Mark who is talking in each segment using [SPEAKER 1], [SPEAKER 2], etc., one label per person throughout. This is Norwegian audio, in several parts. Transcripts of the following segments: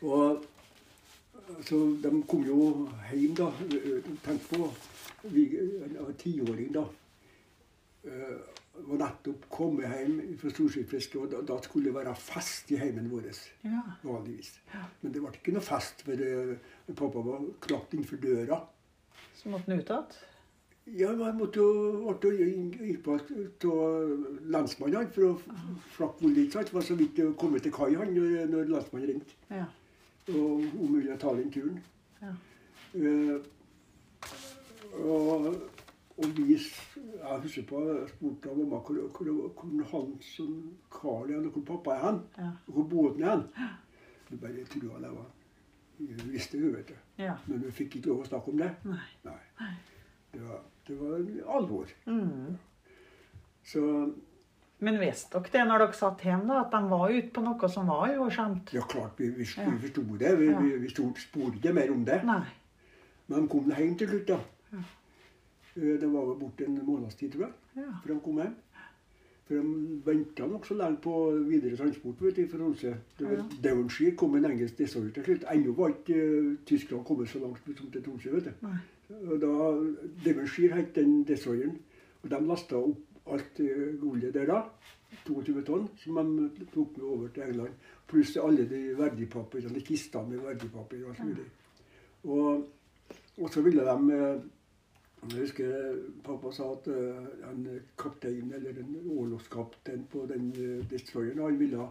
[SPEAKER 1] Og så de kom jo hjem, da. Tenk på vi- en en tiåring, da. Eh, Var nettopp kommet hjem fra storskifiske, og da, da skulle det være fest i heimen vår.
[SPEAKER 2] Ja.
[SPEAKER 1] Vanligvis.
[SPEAKER 2] Ja.
[SPEAKER 1] Men det ble ikke noe fest, for eh, pappa var knapt innenfor døra.
[SPEAKER 2] Så måtte den ut igjen.
[SPEAKER 1] Ja, men jeg måtte jo ble jo inn- innpå av lensmannen for å f- flakke hvor litt. sant? Det var så vidt å komme til kai han når, når lensmannen ringte.
[SPEAKER 2] Ja.
[SPEAKER 1] Og om mulig å ta den turen.
[SPEAKER 2] Ja.
[SPEAKER 1] Eh, og, og vi s- Jeg husker på jeg spurte av mamma hvor, hvor, hvor han som Karl er, og hvor pappa er hen.
[SPEAKER 2] Ja.
[SPEAKER 1] Og hvor båten er hen. Du bare trua det var Hun visste hun, vet du.
[SPEAKER 2] ja.
[SPEAKER 1] Men hun fikk ikke lov å snakke om det.
[SPEAKER 2] Nei.
[SPEAKER 1] Nei. Det var, det var alvor.
[SPEAKER 2] Mm.
[SPEAKER 1] Så
[SPEAKER 2] Men visste dere det når dere satt hjem, da, at de var ute på noe som var uskjønt?
[SPEAKER 1] ja, klart vi, vi,
[SPEAKER 2] Ja.
[SPEAKER 1] vi forsto det. Vi,
[SPEAKER 2] Ja.
[SPEAKER 1] vi, vi stort spurte ikke mer om det.
[SPEAKER 2] Nei.
[SPEAKER 1] Men de kom hjem til slutt, da.
[SPEAKER 2] Ja.
[SPEAKER 1] Eh, Det var vel borte en måneds tid, tror jeg,
[SPEAKER 2] Ja.
[SPEAKER 1] før de kom hjem. For de venta nokså lenge på videre transport vet du, fra Tromsø. Det var
[SPEAKER 2] Ja.
[SPEAKER 1] Devonshire kom en engelsk destroyer til slutt. Ennå var ikke eh, Tyskland kommet så langt som til Tromsø. vet du.
[SPEAKER 2] Nei.
[SPEAKER 1] Og da, Devonshire het den destroyeren. Og de lasta opp alt eh, gullet der da. 22 tonn som de tok med over til England. Pluss alle de verdipapirene, de kistene med verdipapir og alt mulig. Og, og så ville de eh, Jeg husker pappa sa at eh, en kaptein eller en orlogskaptein på den eh, destroyeren han ville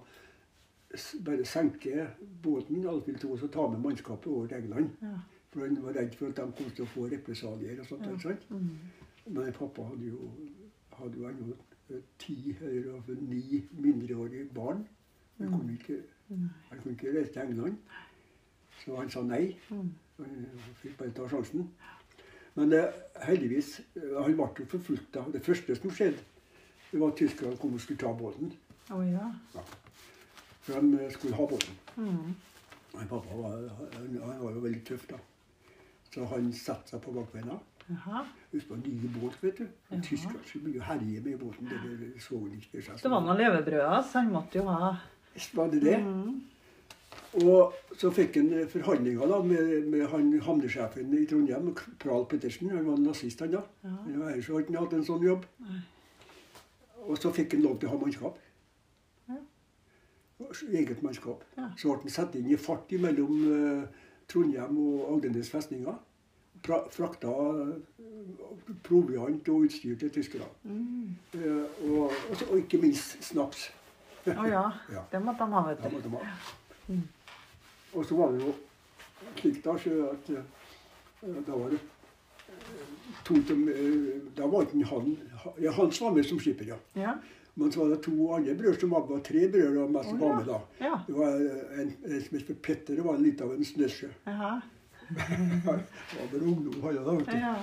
[SPEAKER 1] s- bare senke båten Alfhild 2 og så ta med mannskapet over til England.
[SPEAKER 2] Ja.
[SPEAKER 1] For han var redd for at de kom til å få represalier og sånt.
[SPEAKER 2] Ja.
[SPEAKER 1] ikke sant?
[SPEAKER 2] Mm.
[SPEAKER 1] Men pappa hadde jo, hadde jo ennå eh, ti eller iallfall ni mindreårige barn. Han kunne, ikke,
[SPEAKER 2] Mm. Nei.
[SPEAKER 1] han kunne ikke reise til England, så han sa nei.
[SPEAKER 2] Mm.
[SPEAKER 1] Han eh, fikk bare ta sjansen. Men eh, heldigvis eh, Han ble jo forfulgt. da. Det første som skjedde, det var at tyskerne kom og skulle ta båten.
[SPEAKER 2] Å ja.
[SPEAKER 1] For de eh, skulle ha båten.
[SPEAKER 2] Mm.
[SPEAKER 1] Men pappa var, han, han var jo veldig tøff, da. Så han satte seg på bakbeina.
[SPEAKER 2] Jaha.
[SPEAKER 1] Husk på en ny båt, vet du.
[SPEAKER 2] Ja.
[SPEAKER 1] Ja. Tyskerne skulle begynne å herje med båten. Det ble- det så vel ikke seg.
[SPEAKER 2] Det var noe levebrød, så han måtte jo ha
[SPEAKER 1] Var det det?
[SPEAKER 2] Mm.
[SPEAKER 1] Og så fikk han eh, forhandlinger da, med, med han havnesjefen i Trondheim, Pral Pettersen. Han var nazist, han da.
[SPEAKER 2] Ja.
[SPEAKER 1] Men ellers hadde han ikke hatt en sånn jobb.
[SPEAKER 2] Nei.
[SPEAKER 1] Og så fikk han lov til å ha mannskap.
[SPEAKER 2] Ja.
[SPEAKER 1] Eget mannskap.
[SPEAKER 2] Ja.
[SPEAKER 1] Så ble han satt inn i fart mellom eh, Trondheim og Agdenes festninger. Pra, frakta eh, proviant og utstyr til tyskerne.
[SPEAKER 2] Mm.
[SPEAKER 1] Eh, og, og, så- og ikke minst snaps.
[SPEAKER 2] Å ja.
[SPEAKER 1] Ja.
[SPEAKER 2] Det måtte han ha, vet
[SPEAKER 1] Ja,
[SPEAKER 2] du.
[SPEAKER 1] måtte man. Og så var det jo slik da, så at eh, da var det eh, to som, eh, Da var ikke han ja, Hans var med som skipper, ja.
[SPEAKER 2] Ja.
[SPEAKER 1] Men så var det to andre brødre som var var tre brødre og mest
[SPEAKER 2] Å,
[SPEAKER 1] var med da.
[SPEAKER 2] ja.
[SPEAKER 1] Det var eh, en, en som het for Petter, det var litt av en snøsje.
[SPEAKER 2] Jaha.
[SPEAKER 1] Han var bare ungdom, han da, vet du.
[SPEAKER 2] Ja.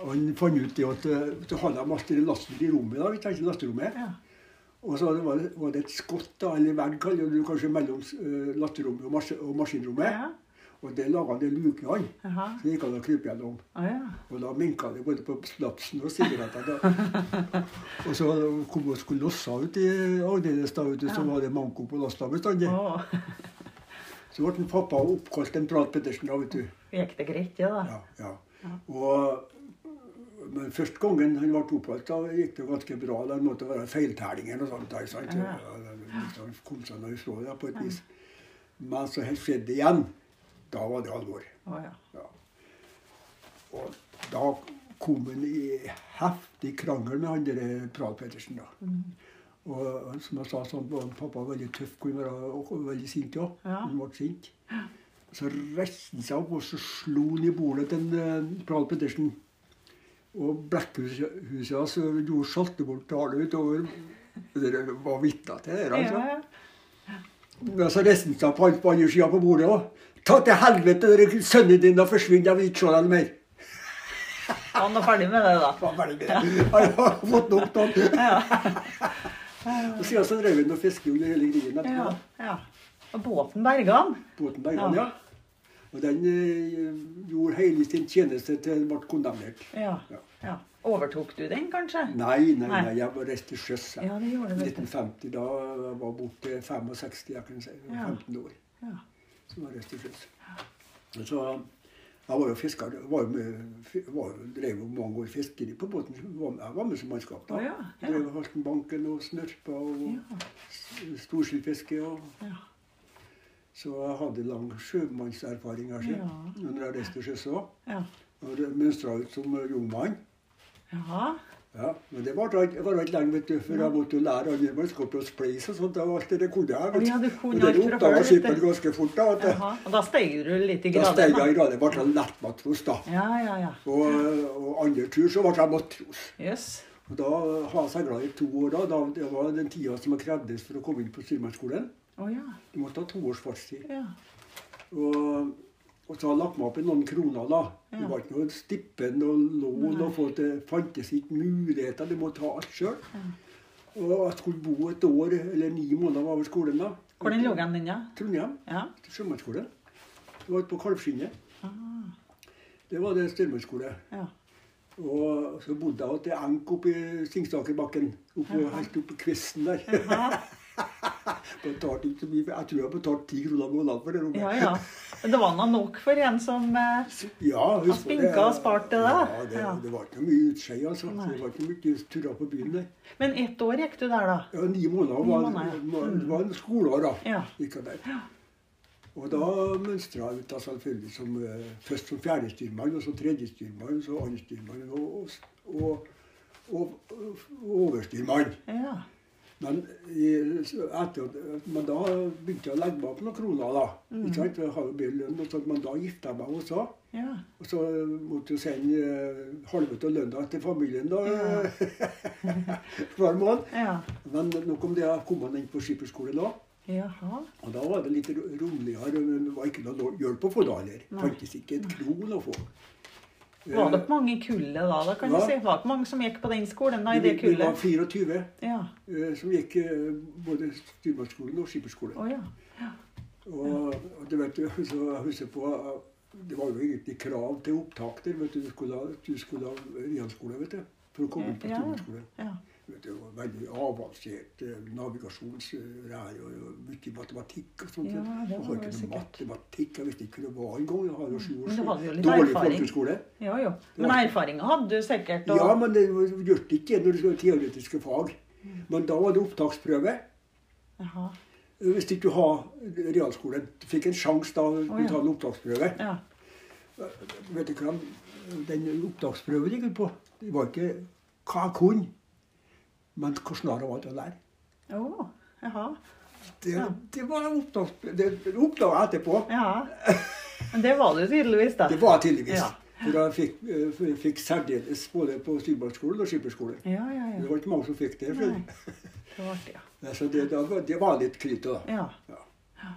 [SPEAKER 1] Og Han fant ut det at eh, så hadde han masse laster i rommet, da, vi tenkte lasterommet.
[SPEAKER 2] Ja.
[SPEAKER 1] Og så var det, var det et skott, da, eller vegg, kaller du det kanskje, mellom uh, latterrommet og, mas og maskinrommet.
[SPEAKER 2] Ja.
[SPEAKER 1] Og det laga han en luke, han.
[SPEAKER 2] Jaha.
[SPEAKER 1] Så gikk han og kryp gjennom.
[SPEAKER 2] Å ja.
[SPEAKER 1] Og da minka det både på snapsen og sigarettene. og så kom vi og skulle losse ut i Agdenes, da, vet du, så var det manko på lasta bestandig.
[SPEAKER 2] Å.
[SPEAKER 1] Så ble en pappa oppkalt en Prat Pettersen, da, vet du.
[SPEAKER 2] Gikk det greit, det, da?
[SPEAKER 1] Ja, ja. Og, men første gangen han ble oppholdt, da gikk det ganske bra. Det måtte være feiltelling eller noe sånt. da, ikke sant?
[SPEAKER 2] Ja.
[SPEAKER 1] Ja, det- liksom, Han kom seg nå ifra det på et vis. Men så helt skjedde det igjen. Da var det alvor.
[SPEAKER 2] Å ja.
[SPEAKER 1] Ja. Og da kom han i heftig krangel med han der eh, Pral Pettersen, da.
[SPEAKER 2] Mm.
[SPEAKER 1] Og han- som jeg sa, sånn, var han pappa veldig tøff, kunne være og- og veldig sint òg.
[SPEAKER 2] Ja.
[SPEAKER 1] Han ble sint. Så reiste han seg opp og så slo han i bordet til en, eh, Pral Pettersen. Og blekkhuset hans gjorde saltebordtale utover. Dere var vitner til det? her, altså.
[SPEAKER 2] Ja, ja.
[SPEAKER 1] Ja, så resten av på på andre sida på bordet òg. Ta til helvete, dere sønnene dine, og forsvinn. Jeg vil ikke se deg mer.
[SPEAKER 2] Han var ferdig med det, da.
[SPEAKER 1] Hva var det med det? Jeg har fått nok av det. Og siden så drev han og fisket under hele grien
[SPEAKER 2] Ja,
[SPEAKER 1] etterpå.
[SPEAKER 2] ja. Og båten berga han.
[SPEAKER 1] Båten der, ja. Og den eh, gjorde hele sin tjeneste til den ble kondemnert.
[SPEAKER 2] Ja.
[SPEAKER 1] Ja.
[SPEAKER 2] ja. Overtok du den, kanskje?
[SPEAKER 1] Nei, nei,
[SPEAKER 2] Nei.
[SPEAKER 1] nei, jeg var reist til sjøs. jeg.
[SPEAKER 2] Ja, det gjorde du, vet du.
[SPEAKER 1] 1950, da var jeg borte 65, jeg kan si. Jeg var
[SPEAKER 2] Ja.
[SPEAKER 1] 15 år.
[SPEAKER 2] Ja.
[SPEAKER 1] som var rett og slett. Og Så jeg var jo fisker. jeg Var jo med, fi- var, jo- drev jo mange år fiskeri på båten. så var- Jeg var med som mannskap. da.
[SPEAKER 2] Å ja, ja.
[SPEAKER 1] Drev Haltenbanken og snørpa og
[SPEAKER 2] Ja.
[SPEAKER 1] s- storskilfiske. og...
[SPEAKER 2] Ja.
[SPEAKER 1] Så jeg hadde lang sjømannserfaring her siden.
[SPEAKER 2] Ja.
[SPEAKER 1] Når jeg reiste til sjøs òg.
[SPEAKER 2] Ja.
[SPEAKER 1] Og det mønstra ut som eh, ung mann.
[SPEAKER 2] ja.
[SPEAKER 1] Ja, men det var da ikke var da ikke lenge, vet du, for jeg måtte jo lære alle mannskapene å spleise og sånt. og alt det der kunne jeg.
[SPEAKER 2] Å,
[SPEAKER 1] vet
[SPEAKER 2] ja, du kunne
[SPEAKER 1] Og det
[SPEAKER 2] alt fra før,
[SPEAKER 1] oppdaga
[SPEAKER 2] vet
[SPEAKER 1] skipet
[SPEAKER 2] du.
[SPEAKER 1] ganske fort. Da at jeg-
[SPEAKER 2] Jaha. Og da steg du litt i
[SPEAKER 1] da steg
[SPEAKER 2] gradene?
[SPEAKER 1] jeg i grad. Jeg ble sånn lettmatros, da.
[SPEAKER 2] Ja, ja, ja.
[SPEAKER 1] Og, og andre tur så ble jeg matros.
[SPEAKER 2] Jøss.
[SPEAKER 1] Og da har jeg segla i to år. da, da Det var den tida som jeg krevdes for å komme inn på styrmannsskolen.
[SPEAKER 2] Å ja.
[SPEAKER 1] Du måtte ha to års fartstid.
[SPEAKER 2] ja.
[SPEAKER 1] Og, og så har jeg lagt meg opp i noen kroner, da. Det
[SPEAKER 2] Ja.
[SPEAKER 1] var ikke noe stippend og lån. og for at Det fantes ikke muligheter. Du måtte ha alt sjøl. Og jeg skulle bo et år eller ni måneder over skolen da.
[SPEAKER 2] Hvor den lå den, den, ja?
[SPEAKER 1] Trondheim.
[SPEAKER 2] Ja.
[SPEAKER 1] Sjømannsskolen. Det var ute på Kalvskinnet.
[SPEAKER 2] Ah,
[SPEAKER 1] Det var det styrmannsskole.
[SPEAKER 2] ja.
[SPEAKER 1] Og så bodde jeg til enk oppe i Singsakerbakken. Oppe, helt oppe i kvisten der. betalte ikke så mye. Jeg tror jeg betalte ti kroner måneden for det rommet.
[SPEAKER 2] ja, ja. Men det var nå nok for en som eh,
[SPEAKER 1] Ja, husk på det.
[SPEAKER 2] spinka og spart til det.
[SPEAKER 1] Ja, det,
[SPEAKER 2] Ja.
[SPEAKER 1] det var ikke noe mye utskei, altså.
[SPEAKER 2] Nei.
[SPEAKER 1] Det var ikke mye turer på byen. der.
[SPEAKER 2] Men ett år gikk du der, da?
[SPEAKER 1] Ja, ni måneder
[SPEAKER 2] Ni
[SPEAKER 1] var,
[SPEAKER 2] måneder, ja. Mm.
[SPEAKER 1] var, det var en skoleår, da.
[SPEAKER 2] Ja.
[SPEAKER 1] Gikk jeg der. Og da mønstra jeg ut da selvfølgelig som, eh, først som fjerdestyrmann, og så tredjestyrmann, så andrestyrmann og, og, og, og, og overstyrmann.
[SPEAKER 2] Ja.
[SPEAKER 1] Men, i, så etter, at- men da begynte jeg å legge meg opp noen kroner, da.
[SPEAKER 2] Mm.
[SPEAKER 1] Ikke sant? For Jeg har jo bedre lønn, og sånt, men da gifta jeg meg også.
[SPEAKER 2] ja.
[SPEAKER 1] Og så måtte jeg sende eh, halve av lønna til familien da, hver måned.
[SPEAKER 2] Ja.
[SPEAKER 1] Men nok om det. Jeg kom han inn på skipperskole da.
[SPEAKER 2] Jaha.
[SPEAKER 1] Og da var det litt ro- romligere. men Det var ikke noe hjelp å få da heller.
[SPEAKER 2] Nei.
[SPEAKER 1] Fantes ikke et kron å få.
[SPEAKER 2] Var det ikke mange i kullet da? da kan
[SPEAKER 1] Ja.
[SPEAKER 2] du si? Var det ikke mange som gikk på den skolen da, i det
[SPEAKER 1] Vi var
[SPEAKER 2] kullet?
[SPEAKER 1] 24
[SPEAKER 2] Ja.
[SPEAKER 1] eh, som gikk eh, både styrmannsskolen og skipperskolen.
[SPEAKER 2] Å ja.
[SPEAKER 1] Og, og det vet du, så jeg husker på eh, Det var jo egentlig krav til opptak der. vet Du du skulle ha, du skulle ha realskole vet du, for å komme inn på
[SPEAKER 2] Ja, ja.
[SPEAKER 1] styrmannsskolen.
[SPEAKER 2] ja.
[SPEAKER 1] Vet du, og Veldig avansert eh, navigasjonslære og og mye matematikk og sånt.
[SPEAKER 2] Ja, det
[SPEAKER 1] jeg
[SPEAKER 2] var
[SPEAKER 1] har ikke
[SPEAKER 2] sikkert.
[SPEAKER 1] noe matematikk. Jeg visste ikke hva det var engang. Jeg har jo sju
[SPEAKER 2] Men du hadde jo litt
[SPEAKER 1] års dårlig
[SPEAKER 2] erfaring.
[SPEAKER 1] folkehøyskole.
[SPEAKER 2] Jo, jo. Men erfaringa hadde du sikkert. Og...
[SPEAKER 1] Ja, men det gjør det ikke når du skal ha teoretiske fag. Men da var det opptaksprøve.
[SPEAKER 2] Jaha.
[SPEAKER 1] Hvis ikke du har realskolen. Du fikk en sjanse da du
[SPEAKER 2] Å, ja.
[SPEAKER 1] tar en opptaksprøve.
[SPEAKER 2] Ja.
[SPEAKER 1] Vet du hva den opptaksprøven gikk ut på? Det var ikke hva jeg kunne, men hvor snar jeg var til å lære.
[SPEAKER 2] Å. Jaha.
[SPEAKER 1] Det,
[SPEAKER 2] Ja.
[SPEAKER 1] det var oppdags- det oppdaga jeg etterpå.
[SPEAKER 2] Ja. Men det var du tydeligvis, da.
[SPEAKER 1] Det var jeg tydeligvis.
[SPEAKER 2] Ja.
[SPEAKER 1] For jeg fikk, eh, for jeg fikk særdeles både på styrmannsskolen og skipperskolen.
[SPEAKER 2] Ja, ja,
[SPEAKER 1] Det
[SPEAKER 2] ja.
[SPEAKER 1] var ikke mange som fikk det.
[SPEAKER 2] Nei.
[SPEAKER 1] For,
[SPEAKER 2] Det var artig, ja.
[SPEAKER 1] altså det, da var- det var litt knyttet, da.
[SPEAKER 2] Ja.
[SPEAKER 1] Ja.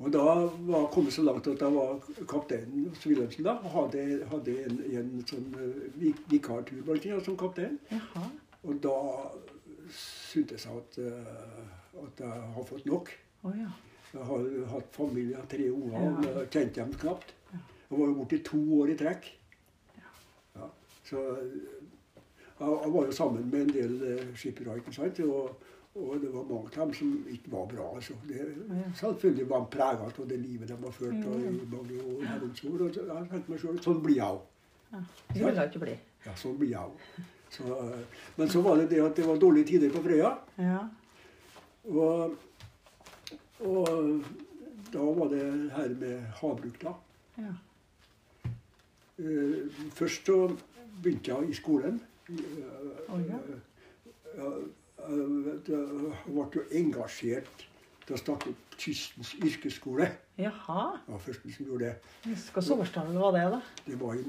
[SPEAKER 1] Og da var jeg kommet så langt at jeg var kaptein hos Wilhelmsen da, og hadde, hadde en, en sånn eh, vik- vikartur blant annet som kaptein.
[SPEAKER 2] Jaha.
[SPEAKER 1] Og da syntes jeg at, eh, at jeg har fått nok.
[SPEAKER 2] Å ja.
[SPEAKER 1] Jeg har jo hatt familie, jeg har tre unger,
[SPEAKER 2] Ja.
[SPEAKER 1] og jeg kjente dem knapt. Jeg var jo borte i to år i trekk. Ja. Så eh, jeg, jeg var jo sammen med en del eh, skippere, ikke sant. Og, og det var mange av dem som ikke var bra. Altså. Det,
[SPEAKER 2] Ja.
[SPEAKER 1] selvfølgelig var de prega av det livet de har ført og i mange år. herrens år, Og så- jeg tenkte meg selv, sånn blir jeg òg.
[SPEAKER 2] Du ville ikke bli.
[SPEAKER 1] Ja, sånn blir jeg òg. Så, eh, men så var det det at det var dårlige tider på Frøya.
[SPEAKER 2] Ja.
[SPEAKER 1] Og, og da var det her med havbruk, da.
[SPEAKER 2] Ja.
[SPEAKER 1] Eh, Først så begynte jeg i skolen. Eh,
[SPEAKER 2] Å, ja.
[SPEAKER 1] jeg- Jeg jeg Eh, ble jo engasjert til å starte opp Kystens yrkesskole.
[SPEAKER 2] Jaha.
[SPEAKER 1] Jeg var førsten som gjorde det.
[SPEAKER 2] Husker sårstavel var det, da.
[SPEAKER 1] Det var i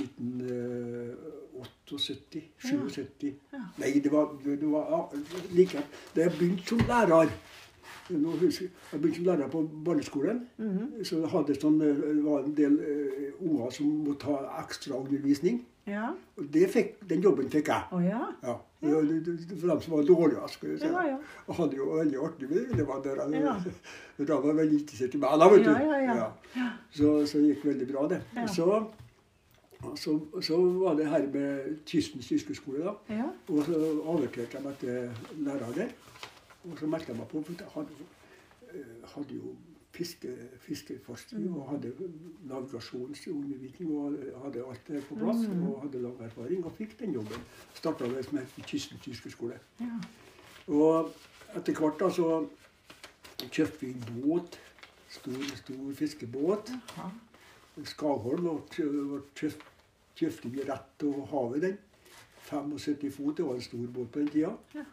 [SPEAKER 1] 1978? 77?
[SPEAKER 2] Ja.
[SPEAKER 1] Nei, det var, det det var ja, like Da jeg begynte som lærer nå husker jeg, jeg begynte som lærer på barneskolen. Så jeg hadde sånn, eh, det var en del eh, unger som måtte ha ekstraundervisning.
[SPEAKER 2] Ja.
[SPEAKER 1] Og det fikk, den jobben fikk jeg.
[SPEAKER 2] Å ja.
[SPEAKER 1] Ja. Det var- det- det- For dem som var dårligere, skal vi si.
[SPEAKER 2] Ja, ja.
[SPEAKER 1] Jeg hadde jo veldig artig med det. Det var der,
[SPEAKER 2] Ja.
[SPEAKER 1] Da var jeg veldig interessert i meg, da, vet du.
[SPEAKER 2] Ja, ja, ja.
[SPEAKER 1] Så, så det gikk veldig bra, det.
[SPEAKER 2] Ja.
[SPEAKER 1] Så, så, så var det her med Kystens yrkesskole, da.
[SPEAKER 2] Ja.
[SPEAKER 1] Og så averterte jeg meg til lærer der. Og så meldte jeg meg på, for jeg hadde, jo- eh, hadde jo fiske, fiskefartøy og hadde navigasjonsundervisning og hadde alt det på plass. Og hadde lang erfaring og fikk den jobben. Starta det som het Kysten tyskerskole.
[SPEAKER 2] Ja.
[SPEAKER 1] Og etter hvert da så kjøpte vi båt. Stor, stor fiskebåt.
[SPEAKER 2] Jaha.
[SPEAKER 1] Skavholm og t- og kjøpt- kjøpte vi rett over havet den. 75 fot, det var en stor båt på den tida.
[SPEAKER 2] Ja.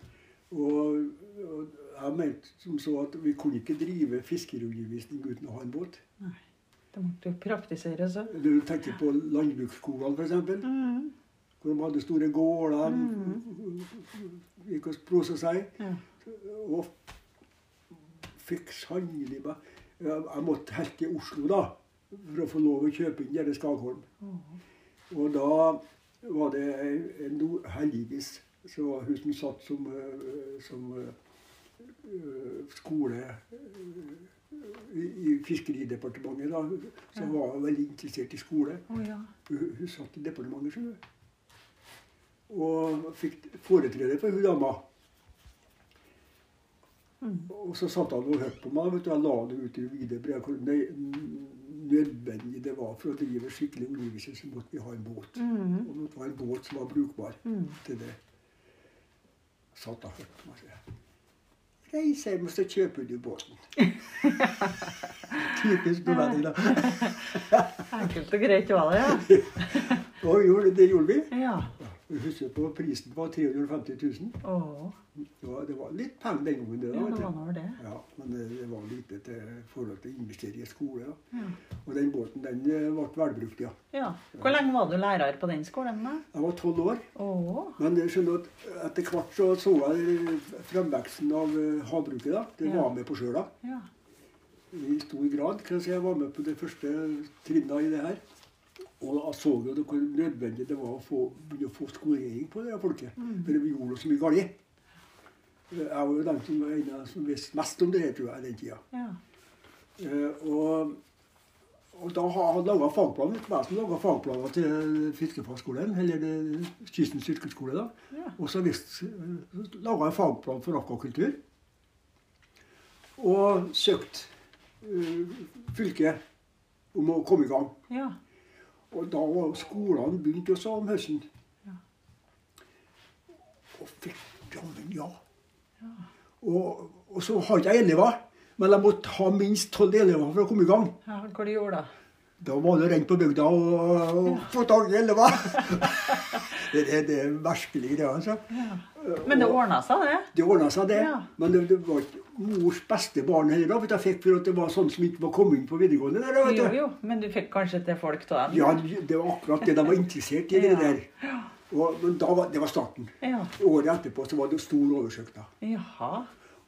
[SPEAKER 1] Og, og jeg mente som så at vi kunne ikke drive fiskerundervisning uten å ha en båt.
[SPEAKER 2] Det måtte jo praktiseres òg.
[SPEAKER 1] Du tenker på landbruksskolene, f.eks.
[SPEAKER 2] Mm.
[SPEAKER 1] Hvor de hadde store gårder.
[SPEAKER 2] Mm.
[SPEAKER 1] Gikk og prosa seg.
[SPEAKER 2] Ja.
[SPEAKER 1] Og fikk sannelig meg Jeg jeg måtte helt til Oslo, da, for å få lov å kjøpe inn denne Skagholm.
[SPEAKER 2] Åh.
[SPEAKER 1] Og da var det ei- en do- heldigvis så var hun som satt som, eh, som eh, eh, skole eh, i i Fiskeridepartementet, da, så var hun veldig interessert i skole.
[SPEAKER 2] Å ja.
[SPEAKER 1] Hun, hun satt i departementet, skjønner du. Og fikk foretredet for hun dama.
[SPEAKER 2] Mm.
[SPEAKER 1] Og så satt han og hørte på meg. vet du, Jeg la det ut i videre hvor nø- nødvendig det var for å drive skikkelig undervisning, så måtte vi ha en båt.
[SPEAKER 2] Mm.
[SPEAKER 1] Og det var en båt som var brukbar
[SPEAKER 2] Mm.
[SPEAKER 1] til det. Satt og hørte på meg. sier jeg. Reis hjem, så kjøper du båten. Typisk nordlending, da.
[SPEAKER 2] Enkelt og greit var det, ja.
[SPEAKER 1] Og vi gjorde, det gjorde vi.
[SPEAKER 2] Ja.
[SPEAKER 1] Jeg husker på prisen var 350 000.
[SPEAKER 2] Åh.
[SPEAKER 1] Det var, det var litt penger den gangen. Det,
[SPEAKER 2] Ja,
[SPEAKER 1] da, vet du.
[SPEAKER 2] det var nå vel det.
[SPEAKER 1] Ja, men det, det var lite til forhold til å investere i skole. Da.
[SPEAKER 2] Ja.
[SPEAKER 1] Og den båten den eh, ble velbrukt, ja.
[SPEAKER 2] ja. Hvor lenge var du lærer på den skolen, da?
[SPEAKER 1] Jeg var tolv år.
[SPEAKER 2] Åh.
[SPEAKER 1] Men jeg skjønner at etter hvert så, så jeg eh, fremveksten av eh, havbruket. da. Det
[SPEAKER 2] Ja.
[SPEAKER 1] var med på sjøla
[SPEAKER 2] Ja.
[SPEAKER 1] i stor grad. Kan jeg, si. jeg var med på det første trinna i det her. Og jeg så jo det hvor nødvendig det var å få, begynne å få skolering på det her folket. For vi gjorde så mye galt. Jeg var jo den som, var en av som visste mest om det her, tror jeg, den tida.
[SPEAKER 2] Ja.
[SPEAKER 1] Eh, og, og da har han laga fagplaner. Det var jeg som laga fagplaner til Fiskefagskolen, eller eh, Kystens yrkesskole. da.
[SPEAKER 2] Ja.
[SPEAKER 1] Og så visst, laga jeg eh, fagplan for akvakultur. Og søkte eh, fylket om å komme i gang.
[SPEAKER 2] Ja.
[SPEAKER 1] Og da var skolene begynt også om høsten.
[SPEAKER 2] Ja.
[SPEAKER 1] Og fikk jammen ja. Og, og så har ikke jeg elever, men jeg måtte ha minst tolv elever for å komme i gang.
[SPEAKER 2] ja. Hva du gjorde da?
[SPEAKER 1] Da var det rent på bygda og, og få tak i elever. det, det, det er merkelige greier, altså.
[SPEAKER 2] Ja. Men det ordna seg, det.
[SPEAKER 1] Det ordna seg, det.
[SPEAKER 2] Ja.
[SPEAKER 1] Men det, det var ikke mors beste barn heller, da, for jeg fikk for at det var sånn som ikke var kommet inn på videregående. Der, vet du.
[SPEAKER 2] Jo, jo. Men du fikk kanskje til folk av dem?
[SPEAKER 1] Ja, det var akkurat det de var interessert i.
[SPEAKER 2] Ja.
[SPEAKER 1] det der. Og, men da var, det var starten.
[SPEAKER 2] Ja.
[SPEAKER 1] Året etterpå så var det stor oversøkt. da.
[SPEAKER 2] Jaha.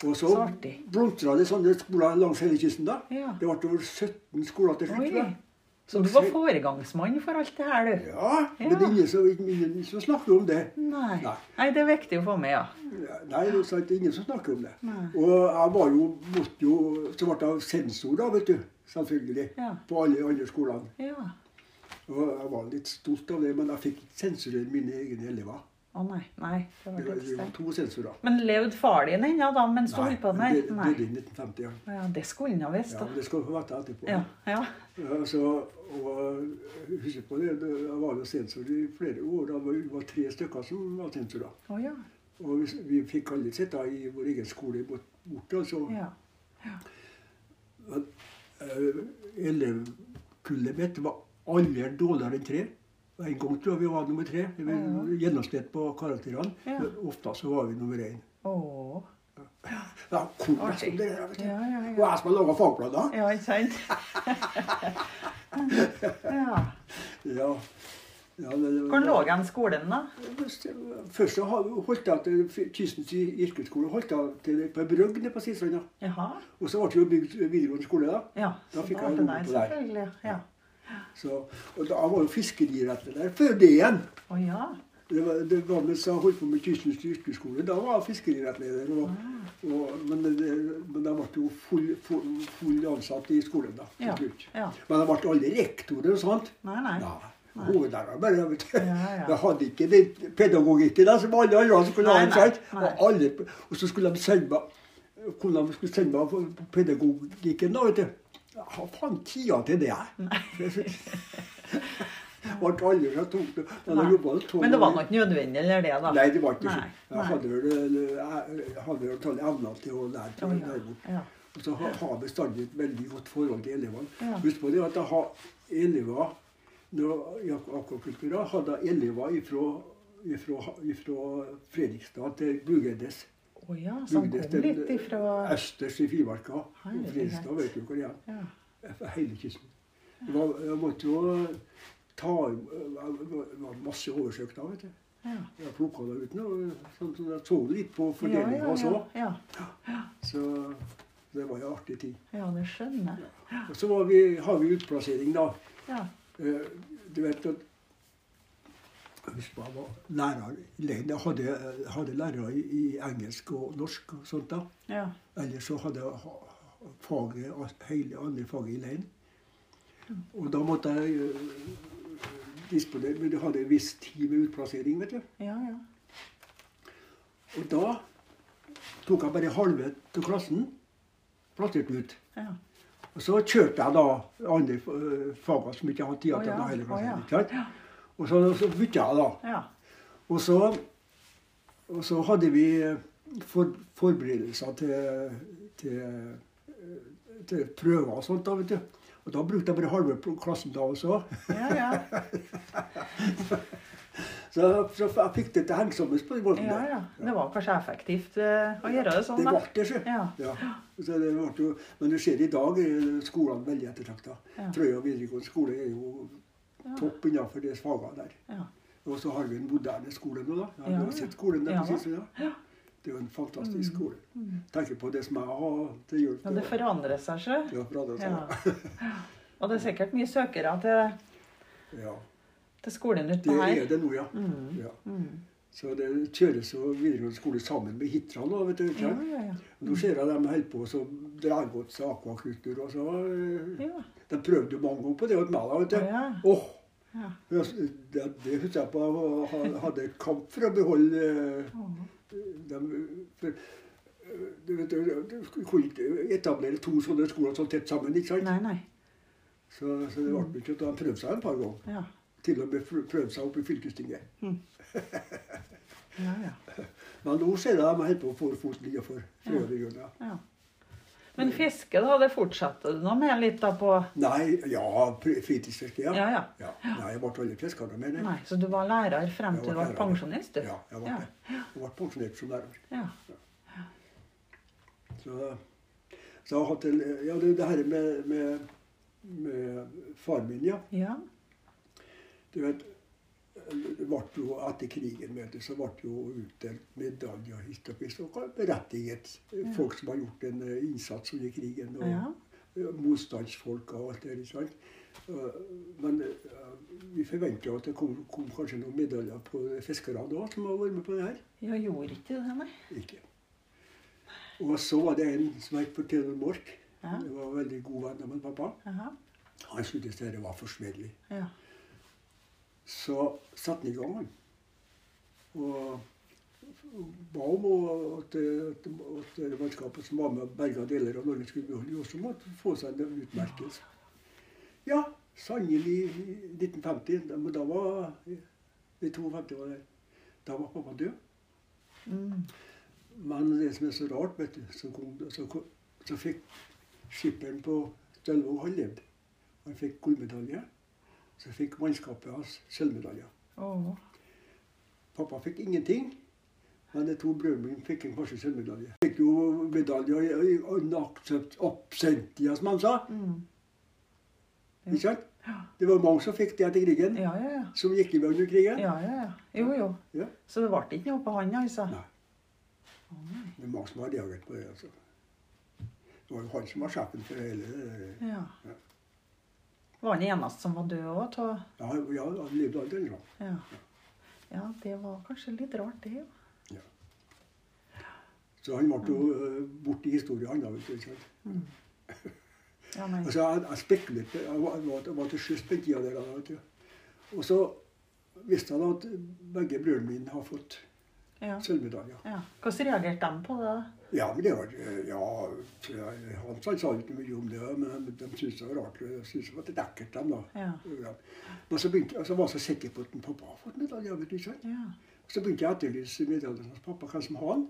[SPEAKER 1] Og så
[SPEAKER 2] Så artig.
[SPEAKER 1] blomstra det sånne skoler langs hele kysten. da.
[SPEAKER 2] Ja.
[SPEAKER 1] Det ble over 17 skoler til slutt.
[SPEAKER 2] Oi.
[SPEAKER 1] tror jeg.
[SPEAKER 2] Så du var foregangsmann for alt det her, du?
[SPEAKER 1] Ja, men
[SPEAKER 2] Ja.
[SPEAKER 1] det er ingen som, ingen som snakker om det.
[SPEAKER 2] Nei.
[SPEAKER 1] Nei.
[SPEAKER 2] Nei, det er viktig å få med, ja.
[SPEAKER 1] Nei, det er sant, det er ingen som snakker om det.
[SPEAKER 2] Nei.
[SPEAKER 1] Og jeg var jo, måtte jo, så ble jeg sensor, da, vet du. Selvfølgelig.
[SPEAKER 2] Ja.
[SPEAKER 1] På alle andre skolene.
[SPEAKER 2] Ja.
[SPEAKER 1] Og jeg var litt stolt av det, men jeg fikk ikke sensurere mine egne elever.
[SPEAKER 2] Å nei. Nei. Det
[SPEAKER 1] Det
[SPEAKER 2] var
[SPEAKER 1] var,
[SPEAKER 2] litt
[SPEAKER 1] det var
[SPEAKER 2] sterkt.
[SPEAKER 1] to sensorer.
[SPEAKER 2] Men levde far din ennå da, mens du holdt på? Nei.
[SPEAKER 1] det- det
[SPEAKER 2] nei.
[SPEAKER 1] døde i 1950. Ja.
[SPEAKER 2] Ja, det skulle han ha visst,
[SPEAKER 1] Ja,
[SPEAKER 2] da.
[SPEAKER 1] men det skal du få vite etterpå.
[SPEAKER 2] Ja. ja.
[SPEAKER 1] Ja, så, og eh, husk på det, det- jeg var jo sensor i flere år. Det var, det var tre stykker som var sensorer.
[SPEAKER 2] Å ja.
[SPEAKER 1] Og vi, vi fikk alle sitte i vår egen skole bort, borte. Altså.
[SPEAKER 2] ja.
[SPEAKER 1] Men, eh, elevkullet mitt var aldri dårligere enn tre. Og En gang tror jeg vi var nummer tre. Vi Gjennomsnitt på karakterene.
[SPEAKER 2] Ja.
[SPEAKER 1] Men Ofte så var vi nummer én.
[SPEAKER 2] Å.
[SPEAKER 1] Ja, cool,
[SPEAKER 2] Artig.
[SPEAKER 1] det der, vet du.
[SPEAKER 2] Ja, ja, ja.
[SPEAKER 1] Og jeg som har laga fagplaner.
[SPEAKER 2] Ja, ikke sant? ja.
[SPEAKER 1] Ja. ja det, det,
[SPEAKER 2] Hvor lå han skolen, da?
[SPEAKER 1] Først så ha- holdt jeg til Kystens yrkesskole holdt jeg til på Brøgg nede på Sistranda.
[SPEAKER 2] Jaha.
[SPEAKER 1] Og så ble det jo bygd videregående skole da.
[SPEAKER 2] Ja.
[SPEAKER 1] Da
[SPEAKER 2] så
[SPEAKER 1] fikk
[SPEAKER 2] var
[SPEAKER 1] jeg
[SPEAKER 2] det
[SPEAKER 1] noe
[SPEAKER 2] der,
[SPEAKER 1] på deg.
[SPEAKER 2] Selvfølgelig. Ja.
[SPEAKER 1] Så, og da var jo fiskeriretter der før det igjen.
[SPEAKER 2] Å ja.
[SPEAKER 1] Det var, det var mens jeg holdt på med Kystens yrkesskole. Da var jeg fiskerirettleder. Og,
[SPEAKER 2] Ah.
[SPEAKER 1] og, men, det, men jeg ble jo full, full, full ansatt i skolen da. til
[SPEAKER 2] Ja,
[SPEAKER 1] slutt.
[SPEAKER 2] ja.
[SPEAKER 1] Men jeg ble aldri rektor eller sånt.
[SPEAKER 2] Nei, nei.
[SPEAKER 1] Nei. Hovedlæreren bare, vet du.
[SPEAKER 2] Ja, ja.
[SPEAKER 1] Jeg hadde ikke den pedagogikken da, som alle andre skulle ha.
[SPEAKER 2] Nei, nei,
[SPEAKER 1] sant?
[SPEAKER 2] nei.
[SPEAKER 1] Og, alle, og så skulle de sende meg, kunne de skulle sende meg på pedagogikken, da, vet du. Jeg har faen tida til det, jeg. Ble aldri så tok det. Men
[SPEAKER 2] Nei.
[SPEAKER 1] jeg jobbet tolv
[SPEAKER 2] Men det var
[SPEAKER 1] år.
[SPEAKER 2] nok nødvendig, eller det, da?
[SPEAKER 1] Nei, det var ikke
[SPEAKER 2] Nei,
[SPEAKER 1] sånn. Jeg hadde vel, jeg hadde vel alle evner til å lære
[SPEAKER 2] Ja,
[SPEAKER 1] til å
[SPEAKER 2] ja,
[SPEAKER 1] lære bort.
[SPEAKER 2] ja.
[SPEAKER 1] Og så har har jeg bestandig et veldig godt forhold til elevene.
[SPEAKER 2] Ja.
[SPEAKER 1] Husk på det at jeg har elever når i ak- akvakultura hadde jeg elever ifra, ifra, ifra Fredrikstad til Brugedes.
[SPEAKER 2] Å ja, så han
[SPEAKER 1] Brugedes
[SPEAKER 2] kom
[SPEAKER 1] til eh,
[SPEAKER 2] litt ifra
[SPEAKER 1] østers i Fimarka.
[SPEAKER 2] Herlighet.
[SPEAKER 1] Fredrikstad vet du hvor det er.
[SPEAKER 2] ja.
[SPEAKER 1] Fra hele kysten. Det var, jeg måtte jo ta eh, Det var masse oversøknader, vet du.
[SPEAKER 2] Ja.
[SPEAKER 1] Jeg plukka det ut nå. Sånn som jeg så litt på
[SPEAKER 2] Ja, ja,
[SPEAKER 1] fordelinga også.
[SPEAKER 2] ja,
[SPEAKER 1] Så det var jo en artig ting.
[SPEAKER 2] ja, det skjønner jeg.
[SPEAKER 1] Og så var vi, har vi utplassering, da.
[SPEAKER 2] Ja.
[SPEAKER 1] Eh, Du vet at Jeg husker jeg var lærer i Leiden. Jeg hadde, jeg hadde lærere i, i engelsk og norsk og sånt da.
[SPEAKER 2] Ja.
[SPEAKER 1] Ellers så hadde jeg ha- faget, alt- hele andre faget i Leiden. Og da måtte jeg eh, disponere Men du hadde en viss tid med utplassering, vet du.
[SPEAKER 2] Ja, ja.
[SPEAKER 1] Og da tok jeg bare halve av klassen, plassert ut.
[SPEAKER 2] ja.
[SPEAKER 1] Og så kjørte jeg da andre eh, fager som ikke hadde tid
[SPEAKER 2] Å
[SPEAKER 1] til å
[SPEAKER 2] ja,
[SPEAKER 1] ta hele
[SPEAKER 2] å
[SPEAKER 1] klassen.
[SPEAKER 2] ja.
[SPEAKER 1] ikke sant? Og så, så bytta jeg, da.
[SPEAKER 2] ja.
[SPEAKER 1] Og så, og så hadde vi eh, for, forberedelser til, til, eh, til prøver og sånt. da, vet du. Og da brukte jeg bare halve pl- klassen da også.
[SPEAKER 2] ja, ja.
[SPEAKER 1] Så, så jeg fikk det til å henge sammen på den måten
[SPEAKER 2] Ja,
[SPEAKER 1] der.
[SPEAKER 2] ja. Det var kanskje effektivt eh, å gjøre det sånn,
[SPEAKER 1] Det
[SPEAKER 2] da.
[SPEAKER 1] ble det, sjø.
[SPEAKER 2] Ja.
[SPEAKER 1] Ja. Så det ble jo, men du ser i dag er skolene veldig ettertrakta.
[SPEAKER 2] Ja.
[SPEAKER 1] Frøya videregående skole er jo
[SPEAKER 2] Ja.
[SPEAKER 1] topp innenfor de fagene der.
[SPEAKER 2] Ja.
[SPEAKER 1] Og så har vi en moderne skole nå, da. Ja,
[SPEAKER 2] Ja,
[SPEAKER 1] Du har
[SPEAKER 2] ja.
[SPEAKER 1] sett skolen der
[SPEAKER 2] Ja,
[SPEAKER 1] på
[SPEAKER 2] da.
[SPEAKER 1] siste, da. Det er jo en fantastisk skole. Tenker på det som jeg har til hjelp.
[SPEAKER 2] ja, det forandrer seg, sjø.
[SPEAKER 1] ja, forandret seg,
[SPEAKER 2] Ja.
[SPEAKER 1] da.
[SPEAKER 2] Og det er sikkert mye søkere til,
[SPEAKER 1] ja.
[SPEAKER 2] til skolen utpå
[SPEAKER 1] Det
[SPEAKER 2] her.
[SPEAKER 1] er det nå, ja.
[SPEAKER 2] Mm.
[SPEAKER 1] ja.
[SPEAKER 2] Mm.
[SPEAKER 1] Så det kjøres jo videregående skole sammen med Hitra nå, vet du.
[SPEAKER 2] Ja,
[SPEAKER 1] ikke?
[SPEAKER 2] ja, ja.
[SPEAKER 1] Nå ser jeg dem holder på som draggods og akvakultur og så eh,
[SPEAKER 2] ja.
[SPEAKER 1] De prøvde jo mange ganger på det hos meg, da, vet du.
[SPEAKER 2] Å, ja.
[SPEAKER 1] Åh,
[SPEAKER 2] Ja.
[SPEAKER 1] det, det husker jeg på. Jeg var- hadde kamp for å beholde eh,
[SPEAKER 2] Å.
[SPEAKER 1] dem. For, eh, du vet, du du kunne ikke etablere to sånne skoler så tett sammen. ikke sant?
[SPEAKER 2] Nei, nei.
[SPEAKER 1] Så, så det ble ikke at de prøvde seg en par ganger.
[SPEAKER 2] Ja.
[SPEAKER 1] Til og med prø- prøvde seg opp i fylkestinget.
[SPEAKER 2] Ja, ja.
[SPEAKER 1] Men nå ser jeg dem holder på å få foten innenfor. Ja.
[SPEAKER 2] ja. Men fiske, da, det fortsetter du nå med litt da på
[SPEAKER 1] Nei, ja, pr- fritidsfiske, ja.
[SPEAKER 2] Ja, ja.
[SPEAKER 1] Nei, jeg ble aldri fisker noe mer. nei.
[SPEAKER 2] Nei, så du var lærer frem
[SPEAKER 1] Jeg
[SPEAKER 2] til du ble
[SPEAKER 1] lærer.
[SPEAKER 2] pensjonist, du?
[SPEAKER 1] Ja, jeg ble, det. Jeg ble pensjonert som lærer.
[SPEAKER 2] Ja.
[SPEAKER 1] Så, så jeg har hatt en, ja, det, det her med, med, med faren min, ja.
[SPEAKER 2] Ja.
[SPEAKER 1] Du vet, det ble jo etter krigen vet du, så ble det jo utdelt medaljer hist og pist. Og berettiget folk som har gjort en eh, innsats under krigen. Og
[SPEAKER 2] Ja.
[SPEAKER 1] eh, motstandsfolk og alt det der. ikke sant? Eh, Men eh, vi forventa at det kom, kom kanskje noen medaljer på fiskerne òg, som har vært med på det her.
[SPEAKER 2] Jeg gjorde ikke det, nei.
[SPEAKER 1] Ikke. Og så var det en som het for Theodor Mork.
[SPEAKER 2] Ja.
[SPEAKER 1] Det var en veldig god venn av min pappa.
[SPEAKER 2] Jaha.
[SPEAKER 1] Han syntes dette var forsmedelig.
[SPEAKER 2] Ja.
[SPEAKER 1] Så satte han i gang, han. Og ba om å- at, at, at det mannskapet som var med og berga deler av Norge, skulle beholde også måtte få seg en utmerkelse. Ja, sannelig i 1950. da- Men da var I 52 var det. Da var pappa død.
[SPEAKER 2] Mm.
[SPEAKER 1] Men det som er så rart, vet du, så, kom, så, kom- så fikk skipperen på Stølvåg Han levde. Han fikk gullmedalje. Så fikk mannskapet hans sølvmedalje.
[SPEAKER 2] Å.
[SPEAKER 1] Pappa fikk ingenting, men de to brødrene mine fikk en kanskje sølvmedalje. Fikk jo medaljer i- i in accept- absentia, som han sa.
[SPEAKER 2] Mm. Ja.
[SPEAKER 1] Ikke sant?
[SPEAKER 2] Ja.
[SPEAKER 1] Det var mange som fikk det etter krigen,
[SPEAKER 2] Ja, ja, ja.
[SPEAKER 1] som gikk i vei under krigen.
[SPEAKER 2] Ja, ja, ja. Jo, jo.
[SPEAKER 1] Ja.
[SPEAKER 2] Så det ble ikke noe på han, altså?
[SPEAKER 1] Nei.
[SPEAKER 2] Å, nei.
[SPEAKER 1] Det er mange som har reagert på det. altså. Det var jo han som var sjefen for hele det der.
[SPEAKER 2] Ja.
[SPEAKER 1] Ja.
[SPEAKER 2] Var han eneste som var død òg?
[SPEAKER 1] Ja, han- ja, han levde aldri da.
[SPEAKER 2] Ja. ja, det var kanskje litt rart, det. jo.
[SPEAKER 1] Så han ble jo eh, borte i historien, han da. vet du, ikke sant?
[SPEAKER 2] Mm. Ja, nei.
[SPEAKER 1] Altså, jeg, jeg spekulerte. Jeg var, jeg var, jeg var til sjøs på den tida der. da, Vet du. Og så visste jeg da at begge brødrene mine har fått
[SPEAKER 2] Ja.
[SPEAKER 1] sølvmedaljer.
[SPEAKER 2] Ja. Hvordan reagerte de på det? da?
[SPEAKER 1] Ja, men det var eh, ja, Han sa sa ikke mye om det, men de syntes det var rart. De syntes det var litt ekkelt, dem, da.
[SPEAKER 2] Ja.
[SPEAKER 1] Ja. Men så begynte, altså, var jeg så sikker på at en pappa hadde fått medalje. vet du, ikke sant?
[SPEAKER 2] ja.
[SPEAKER 1] Så begynte jeg å etterlyse medaljen hos pappa. Hvem som har den?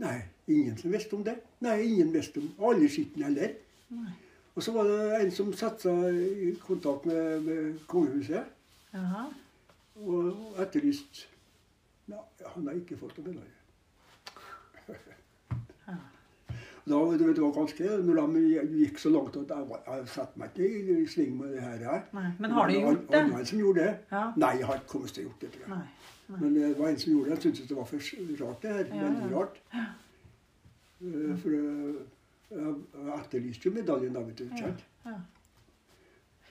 [SPEAKER 1] Nei, ingen som visste om det. Nei, ingen visste om Alle skitten heller.
[SPEAKER 2] Nei.
[SPEAKER 1] Og så var det en som satte seg i kontakt med, med kongehuset
[SPEAKER 2] Jaha.
[SPEAKER 1] og etterlyste Nei, han har ikke fått noen medalje.
[SPEAKER 2] Ja.
[SPEAKER 1] Da, du vet, det var ganske, når de gikk så langt at jeg, var- jeg satte meg ikke i sving med det her. jeg.
[SPEAKER 2] Nei. Men har de
[SPEAKER 1] det var
[SPEAKER 2] gjort det?
[SPEAKER 1] en annen som gjorde det.
[SPEAKER 2] Ja.
[SPEAKER 1] Nei, jeg har ikke kommet til å gjort det. tror jeg.
[SPEAKER 2] Nei.
[SPEAKER 1] Men eh, det var en som gjorde det. Han syntes det var for rart, det her.
[SPEAKER 2] Ja, ja.
[SPEAKER 1] Veldig rart. Eh, For eh, jeg jeg etterlyste jo medaljen da, vet du. ikke
[SPEAKER 2] Ja.
[SPEAKER 1] sant?
[SPEAKER 2] Ja.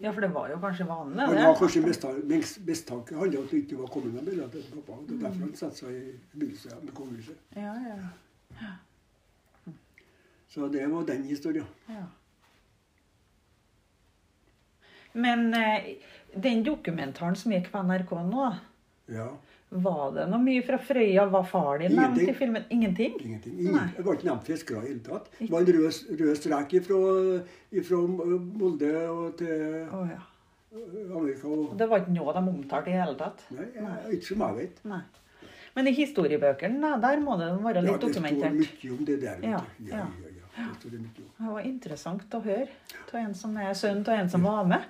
[SPEAKER 2] ja, for det var jo kanskje vanlig,
[SPEAKER 1] Men det var
[SPEAKER 2] det.
[SPEAKER 1] kanskje mista- minst- mistanke handla om at det ikke var kommet noen medalje til pappa. Det er derfor han satte seg i forbindelse med kongehuset.
[SPEAKER 2] Ja, ja.
[SPEAKER 1] Så det var den historien.
[SPEAKER 2] Ja. Men eh, den dokumentaren som gikk på NRK nå,
[SPEAKER 1] Ja,
[SPEAKER 2] var det noe mye fra Frøya? Var far din nevnt i
[SPEAKER 1] Ingenting.
[SPEAKER 2] filmen? Ingenting?
[SPEAKER 1] ingenting.
[SPEAKER 2] Nei.
[SPEAKER 1] Ingen, jeg var ikke nevnt fiskere i det hele tatt. Det var en rød, rød strek ifra, ifra Molde og til
[SPEAKER 2] Å ja.
[SPEAKER 1] Amerika. Og,
[SPEAKER 2] Og Det var ikke noe de omtalte i det hele tatt?
[SPEAKER 1] nei, jeg- ikke som jeg vet.
[SPEAKER 2] Nei. Men i historiebøkene, da, der må det være
[SPEAKER 1] Ja, det
[SPEAKER 2] litt
[SPEAKER 1] står
[SPEAKER 2] dokumentert.
[SPEAKER 1] mye om det der. vet
[SPEAKER 2] Ja,
[SPEAKER 1] du. ja, ja, ja. Det står det mye om.
[SPEAKER 2] Det var interessant å høre av en som er sønn av en som var med.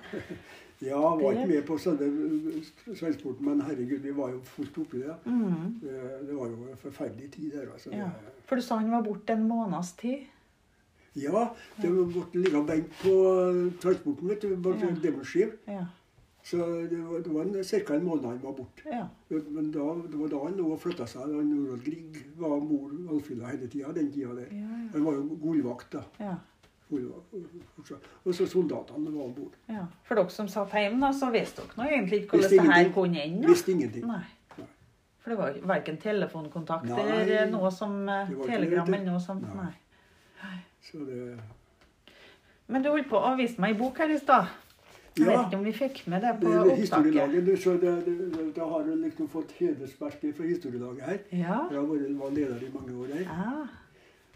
[SPEAKER 1] Ja, jeg var ikke med på selve seilsporten, men herregud, vi var jo fort oppi det.
[SPEAKER 2] Mm,
[SPEAKER 1] Det, det var jo en forferdelig tid der. altså.
[SPEAKER 2] ja.
[SPEAKER 1] Det-
[SPEAKER 2] For du sa han var borte en måneds tid?
[SPEAKER 1] Ja, det ble ligga benk på eh, transporten, vet du. Bak
[SPEAKER 2] Ja.
[SPEAKER 1] ja. demoskiv.
[SPEAKER 2] Ja.
[SPEAKER 1] Så det var, det var ca. en måned han var borte.
[SPEAKER 2] ja.
[SPEAKER 1] Men da, det var da han nå flytta seg. Han Norad Grieg var mor Alfhilda hele tida den tida der.
[SPEAKER 2] Ja, ja.
[SPEAKER 1] Han var jo gullvakt, da.
[SPEAKER 2] ja.
[SPEAKER 1] Gullvakt. Og så soldatene var om bord.
[SPEAKER 2] Ja, For dere som satt hjemme, da, så visste dere nå egentlig ikke
[SPEAKER 1] Visste
[SPEAKER 2] hvordan det her
[SPEAKER 1] ingenting.
[SPEAKER 2] kunne ende?
[SPEAKER 1] Visste ingenting.
[SPEAKER 2] Nei. For det var jo verken telefonkontakt
[SPEAKER 1] Nei.
[SPEAKER 2] eller noe som eh,
[SPEAKER 1] Det var ikke
[SPEAKER 2] telegram
[SPEAKER 1] det.
[SPEAKER 2] eller noe sånt.
[SPEAKER 1] Nei.
[SPEAKER 2] Nei.
[SPEAKER 1] Så det
[SPEAKER 2] Men du holdt på å vise meg ei bok her i stad. Jeg
[SPEAKER 1] Ja.
[SPEAKER 2] vet ikke om vi fikk med det på
[SPEAKER 1] det er
[SPEAKER 2] opptaket.
[SPEAKER 1] Historielaget, du, så det, det, det, det har jo liksom fått hedersmerke fra historielaget her.
[SPEAKER 2] Ja.
[SPEAKER 1] Jeg har vært var leder i mange år her.
[SPEAKER 2] ja.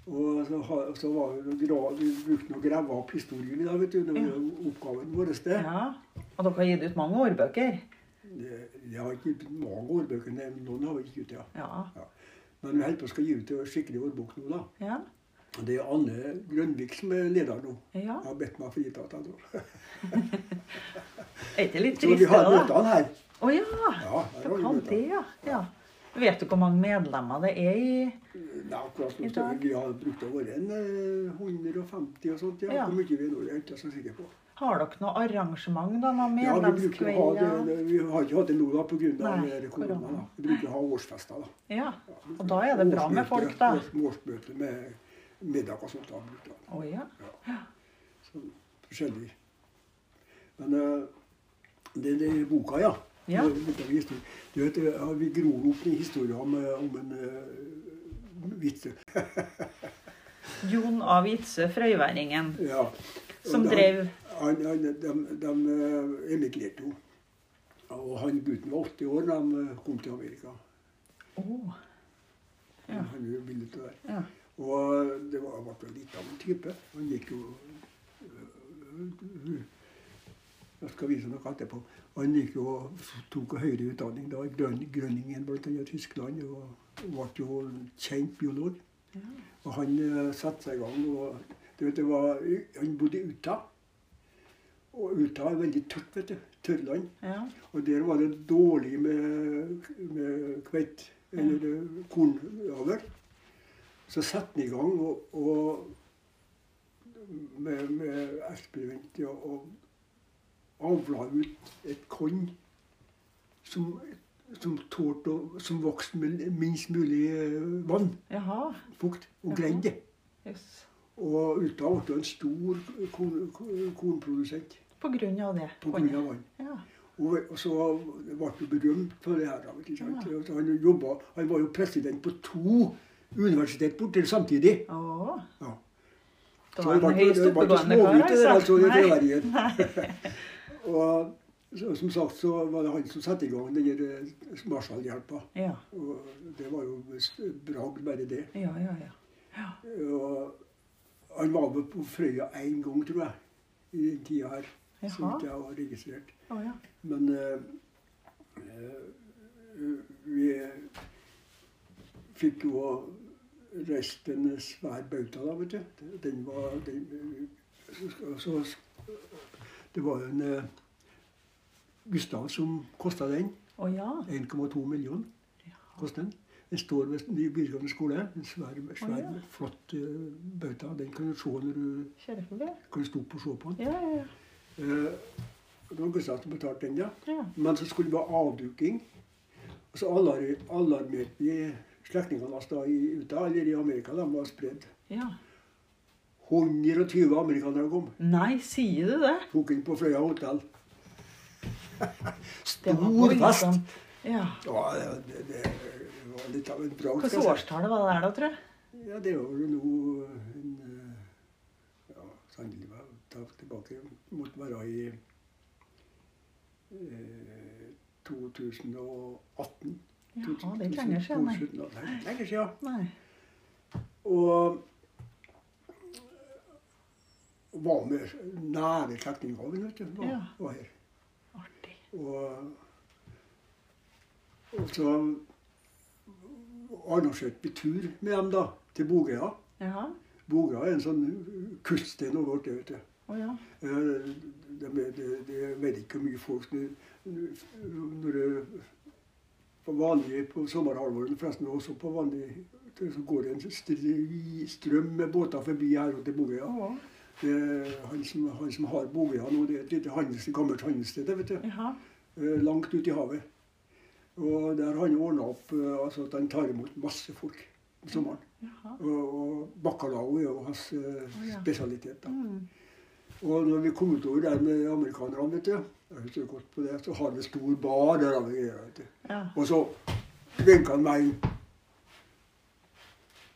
[SPEAKER 1] Og så, har- så var det noe gra- vi brukte å grave opp historien i dag, vet du. Det var
[SPEAKER 2] Ja.
[SPEAKER 1] jo oppgaven vår. Det.
[SPEAKER 2] ja. Og dere har gitt ut mange ordbøker.
[SPEAKER 1] Det- Jeg har ikke gitt ut mange ordbøker, nei, men noen har vi ikke gitt ut, ja.
[SPEAKER 2] Ja.
[SPEAKER 1] Men vi holder på å skal gi ut en skikkelig ordbok nå, da.
[SPEAKER 2] Ja.
[SPEAKER 1] Og det er Anne Grønvik som er leder nå.
[SPEAKER 2] ja.
[SPEAKER 1] Jeg har bedt meg frita til det.
[SPEAKER 2] Er ikke litt
[SPEAKER 1] Så vi
[SPEAKER 2] trist,
[SPEAKER 1] har
[SPEAKER 2] det, da?
[SPEAKER 1] møtene her.
[SPEAKER 2] Å ja.
[SPEAKER 1] Ja, her har vi
[SPEAKER 2] Dere kan det,
[SPEAKER 1] møtene.
[SPEAKER 2] ja. ja. Vet du hvor mange medlemmer det er i
[SPEAKER 1] Nei, akkurat
[SPEAKER 2] I
[SPEAKER 1] nå står
[SPEAKER 2] dag?
[SPEAKER 1] vi har brukt å være en eh, 150 og sånt. Ja.
[SPEAKER 2] Ja.
[SPEAKER 1] Hvor mye vi når, jeg er ikke så sikker på.
[SPEAKER 2] Har dere noe arrangement, da? Noen
[SPEAKER 1] Ja, vi, bruker å ha det,
[SPEAKER 2] medlemskvelder?
[SPEAKER 1] det, vi har ikke hatt det nå da pga.
[SPEAKER 2] Nei,
[SPEAKER 1] korona. da.
[SPEAKER 2] korona.
[SPEAKER 1] Vi bruker å ha årsfester. da.
[SPEAKER 2] Ja. Og da er det bra med folk, da.
[SPEAKER 1] Årsmøte, års- årsmøte med middag og sånt. da, bruker vi.
[SPEAKER 2] Å ja.
[SPEAKER 1] Så, forskjellig. Men eh, det, det er boka, ja.
[SPEAKER 2] Ja.
[SPEAKER 1] Det er litt av en historie. Du vet, eh, ja, Vi gror opp en historie om, eh, om en uh, vitse.
[SPEAKER 2] Jon A. Witzøe Frøyværingen.
[SPEAKER 1] Ja.
[SPEAKER 2] Som
[SPEAKER 1] Og da-
[SPEAKER 2] drev
[SPEAKER 1] han, han, de, de eh, emigrerte jo. Og han gutten var 80 år da han eh, kom til Amerika.
[SPEAKER 2] Å, Ja.
[SPEAKER 1] Han er jo villig til det.
[SPEAKER 2] ja.
[SPEAKER 1] Og det var, han ble jo litt av en type. Han gikk jo øh, Jeg skal vise noe etterpå. Han gikk jo og tok høyere utdanning da i Grøn- Grønningen, bl.a. Tyskland, og ble jo kjent biolog. Og han eh, satte seg i gang. og du vet, det var, Han bodde i Utah. Og Utah er veldig tørt, vet du. Tørrland.
[SPEAKER 2] ja.
[SPEAKER 1] Og der var det dårlig med, med kveitt, eller eh, kornavl. Så satte han i gang og, og med, med eksperiment ja, og avla ut et korn som, som, tålte å- som vokste med minst mulig eh, vann,
[SPEAKER 2] Jaha.
[SPEAKER 1] fukt, og
[SPEAKER 2] Jaha.
[SPEAKER 1] greide det.
[SPEAKER 2] Jøss.
[SPEAKER 1] Og Ulta ble jo en stor korn, kornprodusent
[SPEAKER 2] På grunn av det.
[SPEAKER 1] på grunn av vann.
[SPEAKER 2] Ja.
[SPEAKER 1] Og og så ble han berømt for det her. da, Ikke sant? Og så Han, jobba, han var jo president på to universitet borte samtidig.
[SPEAKER 2] Å.
[SPEAKER 1] Ja.
[SPEAKER 2] Da
[SPEAKER 1] Så
[SPEAKER 2] var
[SPEAKER 1] det
[SPEAKER 2] han
[SPEAKER 1] ble-
[SPEAKER 2] høyst
[SPEAKER 1] det ble
[SPEAKER 2] oppegående
[SPEAKER 1] smågutt,
[SPEAKER 2] kar,
[SPEAKER 1] det der, altså, det
[SPEAKER 2] Nei.
[SPEAKER 1] forverringen.
[SPEAKER 2] Nei.
[SPEAKER 1] Og så, som sagt så var det han som satte i gang den der, eh, Marshall-hjelpa.
[SPEAKER 2] Ja.
[SPEAKER 1] Og det var jo s- bragd, bare det.
[SPEAKER 2] Ja, ja, ja.
[SPEAKER 1] Og han var med på Frøya én gang, tror jeg, i den tida her. Så
[SPEAKER 2] Jaha.
[SPEAKER 1] vidt jeg har registrert.
[SPEAKER 2] Å ja.
[SPEAKER 1] Men eh, eh, vi fikk jo reist en svær bauta da, vet du. Den var den, så, så, Det var en eh, Gustav som kosta den.
[SPEAKER 2] Å ja.
[SPEAKER 1] 1,2 millioner koster den. Den står ved ny videregående skole. En svær, svær
[SPEAKER 2] Å, ja.
[SPEAKER 1] flott eh, bauta. Den kan du se når du
[SPEAKER 2] Kjøre forbi.
[SPEAKER 1] kan stå opp og se på den.
[SPEAKER 2] Ja, ja,
[SPEAKER 1] Eh, det var Gustav som betalte den, ja.
[SPEAKER 2] ja.
[SPEAKER 1] Men så skulle det være avduking. Og så alar alarmerte vi slektningene hans da i ute, eller i Amerika. De var spredd.
[SPEAKER 2] ja. ja.
[SPEAKER 1] 120 amerikanere kom.
[SPEAKER 2] Nei, sier du det?
[SPEAKER 1] Tok inn på Fløya hotell.
[SPEAKER 2] Det var
[SPEAKER 1] Stor fest!
[SPEAKER 2] voldsomt. Ja.
[SPEAKER 1] Ja, det, det, det var litt av en bragd. skal jeg
[SPEAKER 2] Hvilket
[SPEAKER 1] si.
[SPEAKER 2] årstall var det der, da, tror jeg?
[SPEAKER 1] Ja, det var jo nå en eh, Ja, sannelig var ta tilbake Måtte være i eh, 2018.
[SPEAKER 2] Ja, det er ikke lenger siden, nei.
[SPEAKER 1] 2018, nei. Lenger siden.
[SPEAKER 2] Nei.
[SPEAKER 1] Og var med nære slektninger, vet du. Var,
[SPEAKER 2] Ja.
[SPEAKER 1] var her.
[SPEAKER 2] Artig.
[SPEAKER 1] Og, og så arrangerte vi tur med dem da, til Bogøya.
[SPEAKER 2] Ja.
[SPEAKER 1] Boga er en sånn kuststein over vårt, det vet du.
[SPEAKER 2] Å ja.
[SPEAKER 1] Eh, De, de, de jeg vet ikke hvor mye folk som når det, på vanlig på sommerhalvåret, forresten også på vanlig, så går det en stri, strøm med båter forbi her og til Bogøya.
[SPEAKER 2] Å.
[SPEAKER 1] Det er Han, som- han som har Bogøya nå, det er et lite handels, gammelt handelssted, det vet du.
[SPEAKER 2] Jaha.
[SPEAKER 1] Eh, Langt ute i havet. Og der har han ordna opp eh, altså at han tar imot masse folk om sommeren.
[SPEAKER 2] Jaha.
[SPEAKER 1] Og, og bacalao er jo hans eh,
[SPEAKER 2] ja.
[SPEAKER 1] spesialitet. da.
[SPEAKER 2] Mm.
[SPEAKER 1] Og når vi kom utover der med amerikanerne, vet du, jeg husker godt på det, så hadde vi stor bar der. hadde vi greier, vet du.
[SPEAKER 2] Ja.
[SPEAKER 1] Og så vinka han meg inn.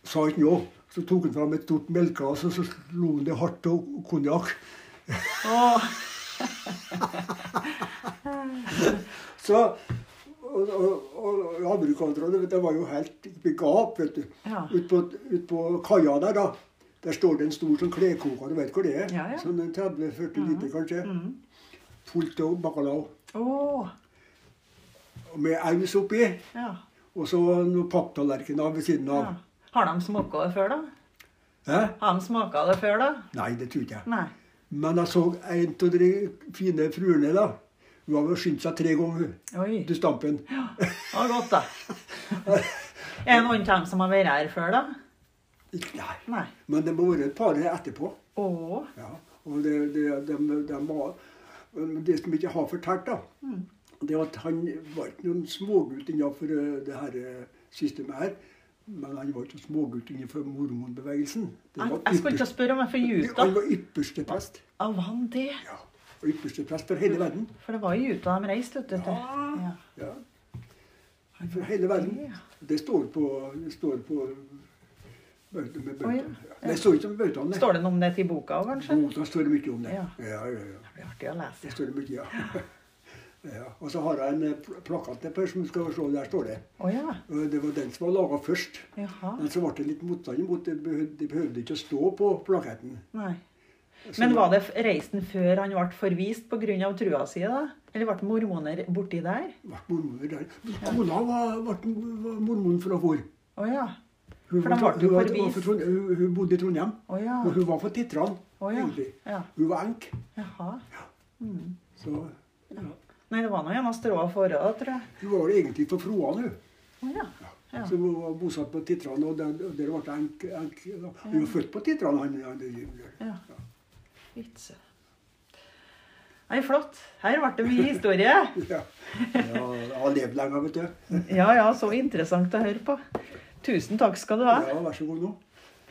[SPEAKER 1] Sa ikke noe. Så tok han fram et stort melkeglass, og så slo han det hardt og konjakk.
[SPEAKER 2] Åh.
[SPEAKER 1] Så og, og, og amerikanerne vet du, var jo helt i gap, vet du.
[SPEAKER 2] Ja.
[SPEAKER 1] Ut på, ut på kaia der, da. Der står det en stor sånn klekoker, du vet hvor det er?
[SPEAKER 2] Ja, ja.
[SPEAKER 1] Sånn en 30-40 liter, kanskje.
[SPEAKER 2] Mm.
[SPEAKER 1] Fullt av bacalao.
[SPEAKER 2] Åh.
[SPEAKER 1] Og Med aus oppi,
[SPEAKER 2] Ja.
[SPEAKER 1] og så noen papptallerkener ved siden av.
[SPEAKER 2] ja. Har de smaka det før, da?
[SPEAKER 1] Hæ?
[SPEAKER 2] Har de smaka det før, da?
[SPEAKER 1] Nei, det tror ikke jeg.
[SPEAKER 2] Nei.
[SPEAKER 1] Men jeg så en av de fine fruene, da. Hun hadde skyndt seg tre ganger, hun.
[SPEAKER 2] Oi.
[SPEAKER 1] Til stampen.
[SPEAKER 2] Det var godt, da. Er det noen av dem som har vært her før, da?
[SPEAKER 1] Ikke- Nei.
[SPEAKER 2] Nei.
[SPEAKER 1] Men det må være et par her etterpå.
[SPEAKER 2] Åh.
[SPEAKER 1] Ja, og det, det, dem- dem var, men det som ikke har fortalt, da,
[SPEAKER 2] Mm.
[SPEAKER 1] det at han var ikke noen smågutt innenfor eh, det her eh, systemet her. Men han var ikke smågutt innenfor mormonbevegelsen. Det
[SPEAKER 2] Jeg
[SPEAKER 1] var
[SPEAKER 2] jeg skulle ikke
[SPEAKER 1] ypperste-
[SPEAKER 2] spørre om jeg får Juta.
[SPEAKER 1] han var ypperste prest.
[SPEAKER 2] Ja, var han det?
[SPEAKER 1] Ja, og ypperste prest for hele verden.
[SPEAKER 2] For det var jo Juta de reiste, vet du.
[SPEAKER 1] Ja.
[SPEAKER 2] Ja.
[SPEAKER 1] Ja. For hele verden. Det står på, det står på bauta med bauta.
[SPEAKER 2] Å, ja.
[SPEAKER 1] Det står ikke om bautaen, det.
[SPEAKER 2] Står det noe om det til boka òg, kanskje?
[SPEAKER 1] Bota står det mye om det.
[SPEAKER 2] Ja.
[SPEAKER 1] Ja, ja, ja.
[SPEAKER 2] Det blir artig å lese.
[SPEAKER 1] Det står det mye, ja. ja. Og så har jeg en eh, pl- plakat der Per, som du skal se, der står det.
[SPEAKER 2] Å ja.
[SPEAKER 1] Og Det var den som var laga først.
[SPEAKER 2] Jaha.
[SPEAKER 1] Men så ble det litt motstand imot. Det behøvde, det behøvde ikke å stå på plaketten.
[SPEAKER 2] Nei. Men var det f- reisen før han ble forvist pga. trua si, da? Eller ble mormoner borti der?
[SPEAKER 1] Ble mormoner der. Kona var, var, var mormon fra hvor?
[SPEAKER 2] Å ja.
[SPEAKER 1] Hun,
[SPEAKER 2] For da
[SPEAKER 1] var-
[SPEAKER 2] ble du
[SPEAKER 1] hun var-
[SPEAKER 2] forvist.
[SPEAKER 1] var fra Trond- hun, hun bodde i Trondheim.
[SPEAKER 2] Å ja.
[SPEAKER 1] Og hun var fra Titran,
[SPEAKER 2] Å ja.
[SPEAKER 1] egentlig.
[SPEAKER 2] ja.
[SPEAKER 1] Hun var enk.
[SPEAKER 2] Jaha.
[SPEAKER 1] Så ja.
[SPEAKER 2] Nei, det var nå gjennom strået forrige, da, tror jeg.
[SPEAKER 1] hun var egentlig fra Froan, hun.
[SPEAKER 2] Å ja. Ja.
[SPEAKER 1] Så hun var bosatt på Titran, og der, og der ble hun enk. enk da. Hun var født på Titran, han, han, han
[SPEAKER 2] ja. Vitse. Nei, flott. Her ble det mye historie.
[SPEAKER 1] Ja. ja, jeg har levd lenge, vet du.
[SPEAKER 2] Ja ja, så interessant å høre på. Tusen takk skal du ha.
[SPEAKER 1] Ja, vær så god nå.